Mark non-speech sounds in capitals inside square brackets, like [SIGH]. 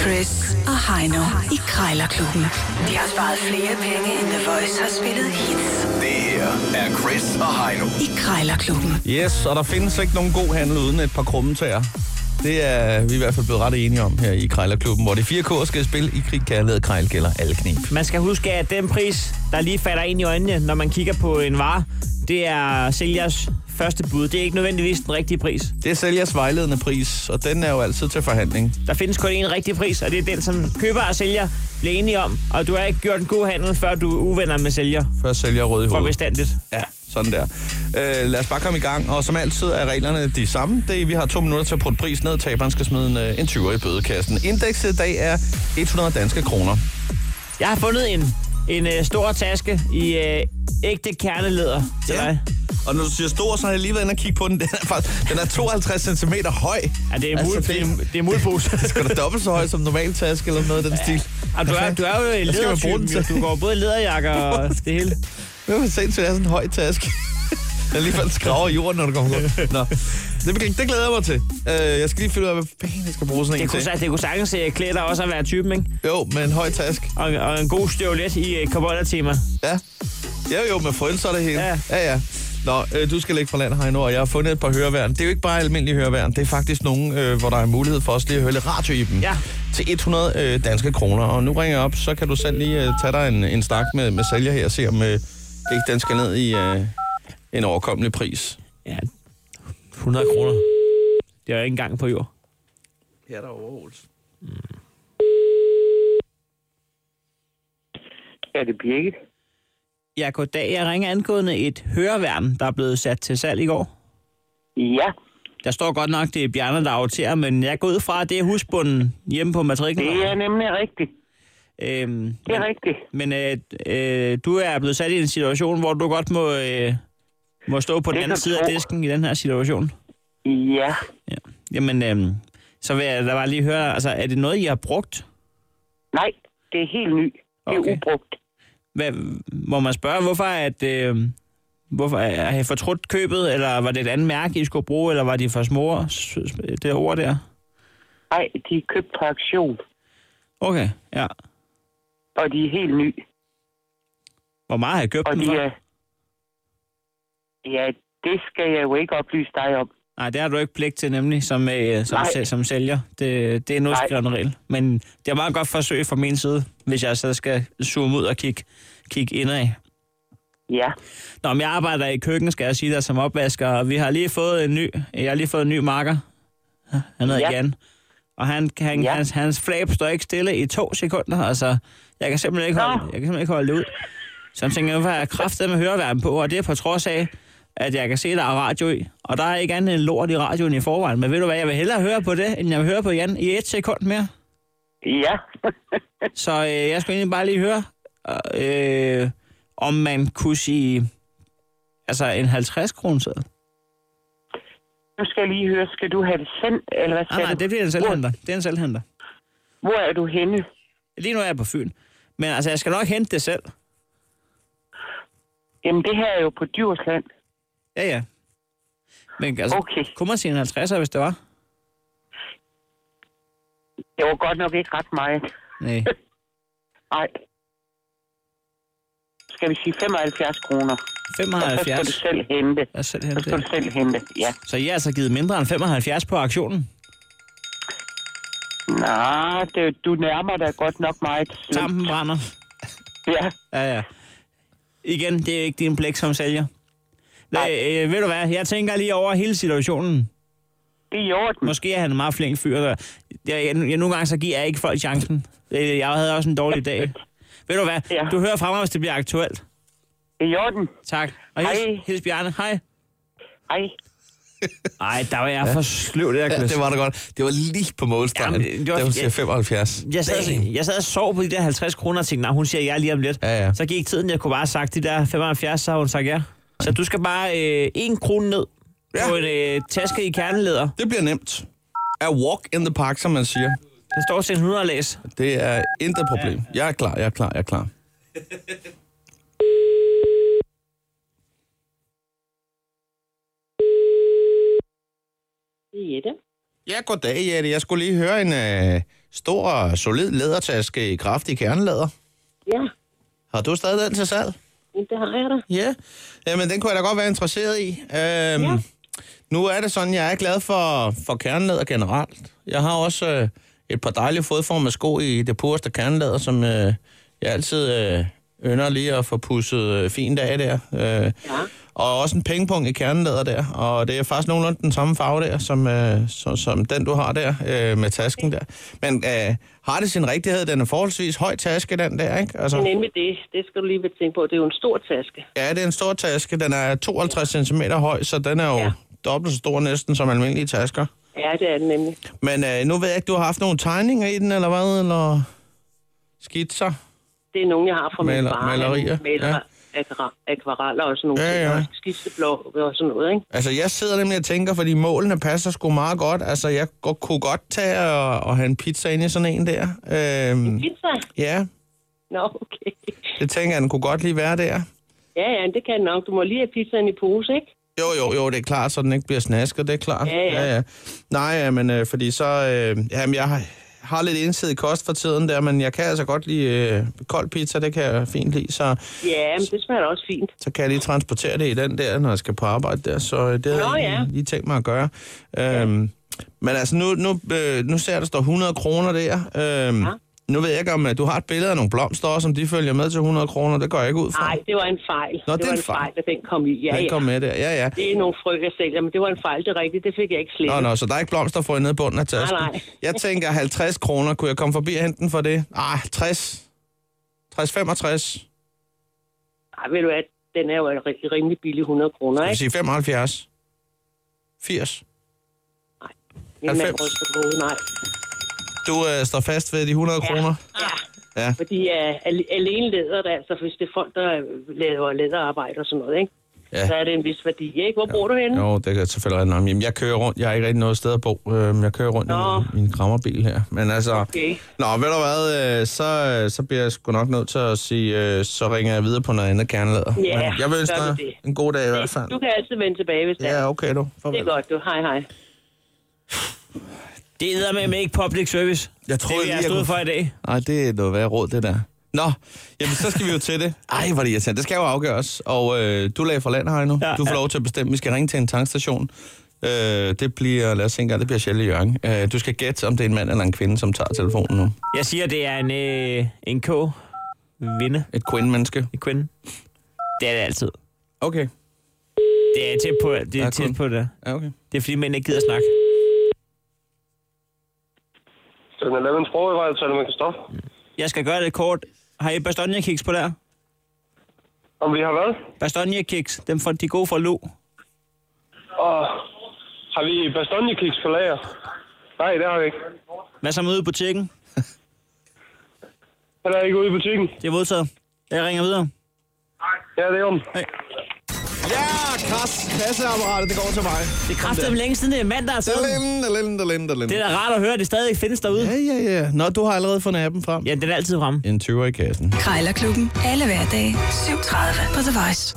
Chris og Heino i Krejlerklubben. De har sparet flere penge, end The Voice har spillet hits Det her er Chris og Heino. i Krejlerklubben. Yes, og der findes ikke nogen god handel uden et par krummetager. Det er vi i hvert fald blevet ret enige om her i Krejlerklubben, hvor de fire kår skal spille i krig, kærlighed, krejl gælder alle knep. Man skal huske, at den pris, der lige falder ind i øjnene, når man kigger på en vare, det er sælgers første bud. Det er ikke nødvendigvis den rigtige pris. Det er sælgers vejledende pris, og den er jo altid til forhandling. Der findes kun én rigtig pris, og det er den, som køber og sælger bliver enige om. Og du har ikke gjort en god handel, før du er uvenner med sælger Før sælger rød i for hovedet. bestandigt. Ja, sådan der. Øh, lad os bare komme i gang, og som altid er reglerne de samme. Det, er, vi har to minutter til at putte pris ned, taberen skal smide en, øh, en 20'er i bødekassen. Indekset i dag er 100 danske kroner. Jeg har fundet en, en øh, stor taske i øh, ægte kerneleder til dig. Og når du siger stor, så har jeg lige været inde og kigge på den. Den er, faktisk, den er 52 cm høj. Ja, det er en det, altså, det, det er en [LAUGHS] mulpose. det er [LAUGHS] sgu da dobbelt så høj som normal taske eller noget af den stil. Og du er, du er jo man bruge den ledertypen, jo. til? du går både i lederjakker [LAUGHS] og det hele. Det er sindssygt, at have sådan en høj taske. [LAUGHS] Jeg lige faldt skraver i jorden, når du kommer rundt. Nå. Det, begyndt- det glæder jeg mig til. Øh, jeg skal lige finde ud af, hvad fanden jeg skal bruge sådan en Det kunne, til. sa- det kunne sagtens øh, klæde dig også at være typen, ikke? Jo, med en høj taske. Og, og en god støvlet i øh, cowboydertimer. Ja. Ja, jo, med frølser og det hele. Ja, Ja. ja. ja. Nå, øh, du skal lægge fra land, Heino, og jeg har fundet et par høreværn. Det er jo ikke bare almindelige høreværn, det er faktisk nogen, øh, hvor der er mulighed for os lige at høre lidt radio i dem. Ja. Til 100 øh, danske kroner. Og nu ringer jeg op, så kan du selv lige øh, tage dig en, en snak med, med sælger her og se, om øh, ikke den skal ned i øh, en overkommelig pris. Ja, 100 kroner. det er jo ikke engang på jord. Her er der overholds. Er det Birgit? Ja, goddag. Jeg ringer angående et høreværn, der er blevet sat til salg i går. Ja, Der står godt nok, det er Bjarne, der aftager, men jeg går ud fra, at det er husbunden hjemme på matriklen. det er nemlig rigtigt. Øhm, Det er men rigtigt. men øh, øh, du er blevet sat i en situation, hvor du godt må, øh, må stå på den Det anden kan side af tro. disken i den her situation. Ja, Ja. Jamen, øh, så vil jeg da bare lige høre, altså, er det noget, I har brugt? nej, det er helt ny. Det er Okay. ubrugt. Hvad, må man spørge, hvorfor at... Øh, Hvorfor har I fortrudt købet, eller var det et andet mærke, I skulle bruge, eller var de for små, s- s- det ord der? Nej, de er købt på aktion, Okay, ja. og de er helt ny. Hvor meget har I købt Og dem de for? er... Ja, det skal jeg jo ikke oplyse dig om. Nej, det har du ikke pligt til nemlig, som, øh, som, Nej. sæl- som sælger. Det, det er en udskrevet regel. Men det er meget godt forsøg fra min side, hvis jeg så skal zoome ud og kigge, kigge indad. Ja, Nå, men jeg arbejder i køkken, skal jeg sige dig, som opvasker, og vi har lige fået en ny, jeg har lige fået en ny marker. Han hedder Ja. ja. Jan. Og han, han, ja. Ja. hans, hans flab står ikke stille i to sekunder, altså, jeg kan simpelthen ikke Nå. holde, jeg kan simpelthen ikke holde det ud. Så jeg tænker, hvorfor har jeg kraftet med høreværmen på, og det er på trods af, at jeg kan se, der er radio i. Og der er ikke andet end lort i radioen i forvejen, men ved du hvad, jeg vil hellere høre på det, end jeg vil høre på Jan i et sekund mere. ja. [LAUGHS] Så øh, jeg skulle egentlig bare lige høre, øh, om man kunne sige, altså en 50 kroner nu skal jeg lige høre, skal du have det sendt, eller hvad Nej, skal nej, du? det bliver en selvhenter. Det er en selvhenter. Hvor er du henne? Lige nu er jeg på Fyn. Men altså, jeg skal nok hente det selv. Jamen, det her er jo på Djursland. Ja, ja. Men altså, Okay. kunne man sige en 50'er, hvis det var? Det var godt nok ikke ret meget. [LAUGHS] Nej. Nej. Skal vi sige 75 kroner? Og så skal du 75. selv hente. Jeg selv Så hente skal du det. selv hente, ja. Så jeg har altså givet mindre end 75 på aktionen. Nej, det, du nærmer dig godt nok meget. slemt. Tampen brænder. Ja, Ja, ja. Igen, det er ikke din pligt som sælger. Nej, Nej. øh, ved du hvad, jeg tænker lige over hele situationen. det er i Mm. orden. Måske er han en meget flink fyr. Der. Jeg, jeg, jeg, nogle gange så giver jeg ikke folk chancen. Øh, Jeg havde også en dårlig dag. Ved du hvad, Ja. du hører fra mig, hvis det bliver aktuelt. Det er i orden. Tak. Og hils, Hej. hils Bjarne. Hej. Ej, Nej, der var jeg for sløv, det Ja, der det var da godt. Det var lige på målstregen. Jamen, det var- det var, siger jeg- 75. jeg sad, jeg sad og sov på de der 50 kroner og tænkte, nej, hun siger ja lige om lidt. Ja, ja. Så gik tiden, jeg kunne bare have sagt de der 75, så har hun sagt ja. Så du skal bare øh, en krone ned Ja. ja. på en øh, taske i kerneleder. Det bliver nemt. A walk in the park, som man siger. Den står til en 100 læs. Det er intet problem. Jeg er klar, jeg er klar, jeg er klar. Jette. Ja, goddag, Jette. Jeg skulle lige høre en øh, stor, solid lædertaske i kraftig kernelæder. Ja, Har du stadig den til salg? men det har jeg da. Ja, men den kunne jeg da godt være interesseret i. Øhm, ja. Nu er det sådan, jeg er glad for, for kernelæder generelt. Jeg har også øh, et par dejlige fodformede sko i det pureste kernelæder, som øh, jeg altid øh, ynder lige at få pusset øh, fint af der. Øh, ja. Og også en pengepunkt i kernelæder der. Og det er faktisk nogenlunde den samme farve der, som, øh, som, som den, du har der øh, med tasken der. Men øh, har det sin rigtighed? Den er forholdsvis høj taske, den der, ikke? Altså... Men Nemlig det, det skal du lige tænke på. Det er jo en stor taske. Ja, det er en stor taske. Den er 52 cm høj, så den er jo ja. Ja. dobbelt så stor næsten som almindelige tasker. Ja, det er den nemlig. Men øh, nu ved jeg ikke, du har haft nogle tegninger i den, eller hvad? Eller skitser? Det er nogen, jeg har fra min Maler- far. malerier, Han maler ja. akra- akvareller og sådan nogle Ja, ting. ja. Og skitseblå og sådan noget, ikke? Altså, jeg sidder nemlig og tænker, fordi målene passer sgu meget godt. Altså, jeg godt, kunne godt tage og, og have en pizza ind i sådan en der. Øhm, Pizza? ja, Nå, okay. det tænker jeg, den kunne godt lige være der. Ja, ja, det kan nok. Du må lige have pizzaen i pose, ikke? Jo, jo, jo, det er klart, så den ikke bliver snasket, det er klart. Ja, ja. Nej, ja, men øh, fordi så... Øh, jamen, jeg har, har lidt ensidig kost for tiden der, men jeg kan altså godt lide øh, kold pizza, det kan jeg fint lide, så, Ja, men det smager da også fint. så kan jeg lige transportere det i den der, når jeg skal på arbejde der, så øh, det har Nå, jeg egentlig lige tænkt mig at gøre. Øhm, Men altså, nu, nu, øh, nu ser jeg, der står 100 kroner der. Øhm, ja. Nu ved jeg ikke, om øh, du har et billede af nogle blomster også, om de følger med til 100 kroner, det går jeg ikke ud fra. Nej, det var en fejl. Nå, det det er var en en fejl, fejl. at den kom i. Ja, Den ja. kom med der, ja, ja. Det er nogle frø, jeg sælger, men det var en fejl, det er rigtigt. Det fik jeg ikke slettet. Nå, nå, så der er ikke blomster for nede i bunden af tasken. Nej, nej. Jeg tænker 50 kroner. Kunne jeg komme forbi og hente den for det? Ah, 60. 60, 65. Ej, ved du hvad, den er jo en ri- rimelig billig 100 kroner, Jeg vil ikke? sige 75. 80. Men man 90. ryster på hovedet, nej. Du øh, står fast ved de 100 ja. kroner? Ja, Ja. fordi uh, alene leder det, altså hvis det er folk, der øh, laver læderarbejde og sådan noget, ikke? Ja. Ja. Så er det en vis værdi, ikke? Hvor ja. bor du henne? Jo, det kan selvfølgelig rigtig nok. Jamen, jeg kører rundt. Jeg har ikke rigtig noget sted at bo. Øhm, Jeg kører rundt Nå. i min, min krammerbil her. Men altså... Okay. Nå, ved du hvad, øh, så, øh, så bliver jeg sgu nok nødt til at sige, øh, så ringer jeg videre på noget andet kernelader. Ja, Men jeg vil ønske gør du dig det. en god dag i hvert fald. Du kan altid vende tilbage, hvis det er. Ja, okay du. Farvel. Det er godt, du. Hej, hej. Det er med ikke public service. Jeg troede det, lige, jeg jeg stod kunne- for i dag. Nej, det er noget værre råd, det der. Nå, jamen så skal vi jo til det. [LAUGHS] Ej, hvor er det irriterende. Det skal jo afgøres. Og øh, du lagde for land her nu. Ja, Ja, du får ja. lov til at bestemme. Vi skal ringe til en tankstation. Øh, det bliver, lad os se engang, det bliver Sjælle Jørgen. Øh, du skal gætte, om det er en mand eller en kvinde, som tager telefonen nu. Jeg siger, det er en, øh, en K. Vinde. Et kvindemenneske. En kvinde. Det er det altid. Okay. Det er tæt på det. Der Er er kun- tæt på det. Ja, okay. det er fordi, mænd ikke gider snakke. Den 11 Pro i vej, så man kan stoppe. Jeg skal gøre det kort. Har I bastonjekiks på der? Om vi har været? Bastonjekiks. Dem fra de gode fra Lo. Og har vi bastonjekiks på lager? Nej, det har vi ikke. Hvad så med ude i butikken? Den er ikke ude i butikken. Det er modtaget. Jeg ringer videre. Ja, det er om. Ja, kras. Kasseapparatet, det går til mig. Det er kraftigt længe siden, det er altså. mand, der er fået den. Dalin, dalin, dalin, Det er da rart at høre, at det stadig findes derude. Ja, ja, ja. Nå, du har allerede fundet appen frem. Ja, den er altid fremme. En 20'er i kassen. Krejlerklubben. Alle hverdage. 7.30 på The Voice.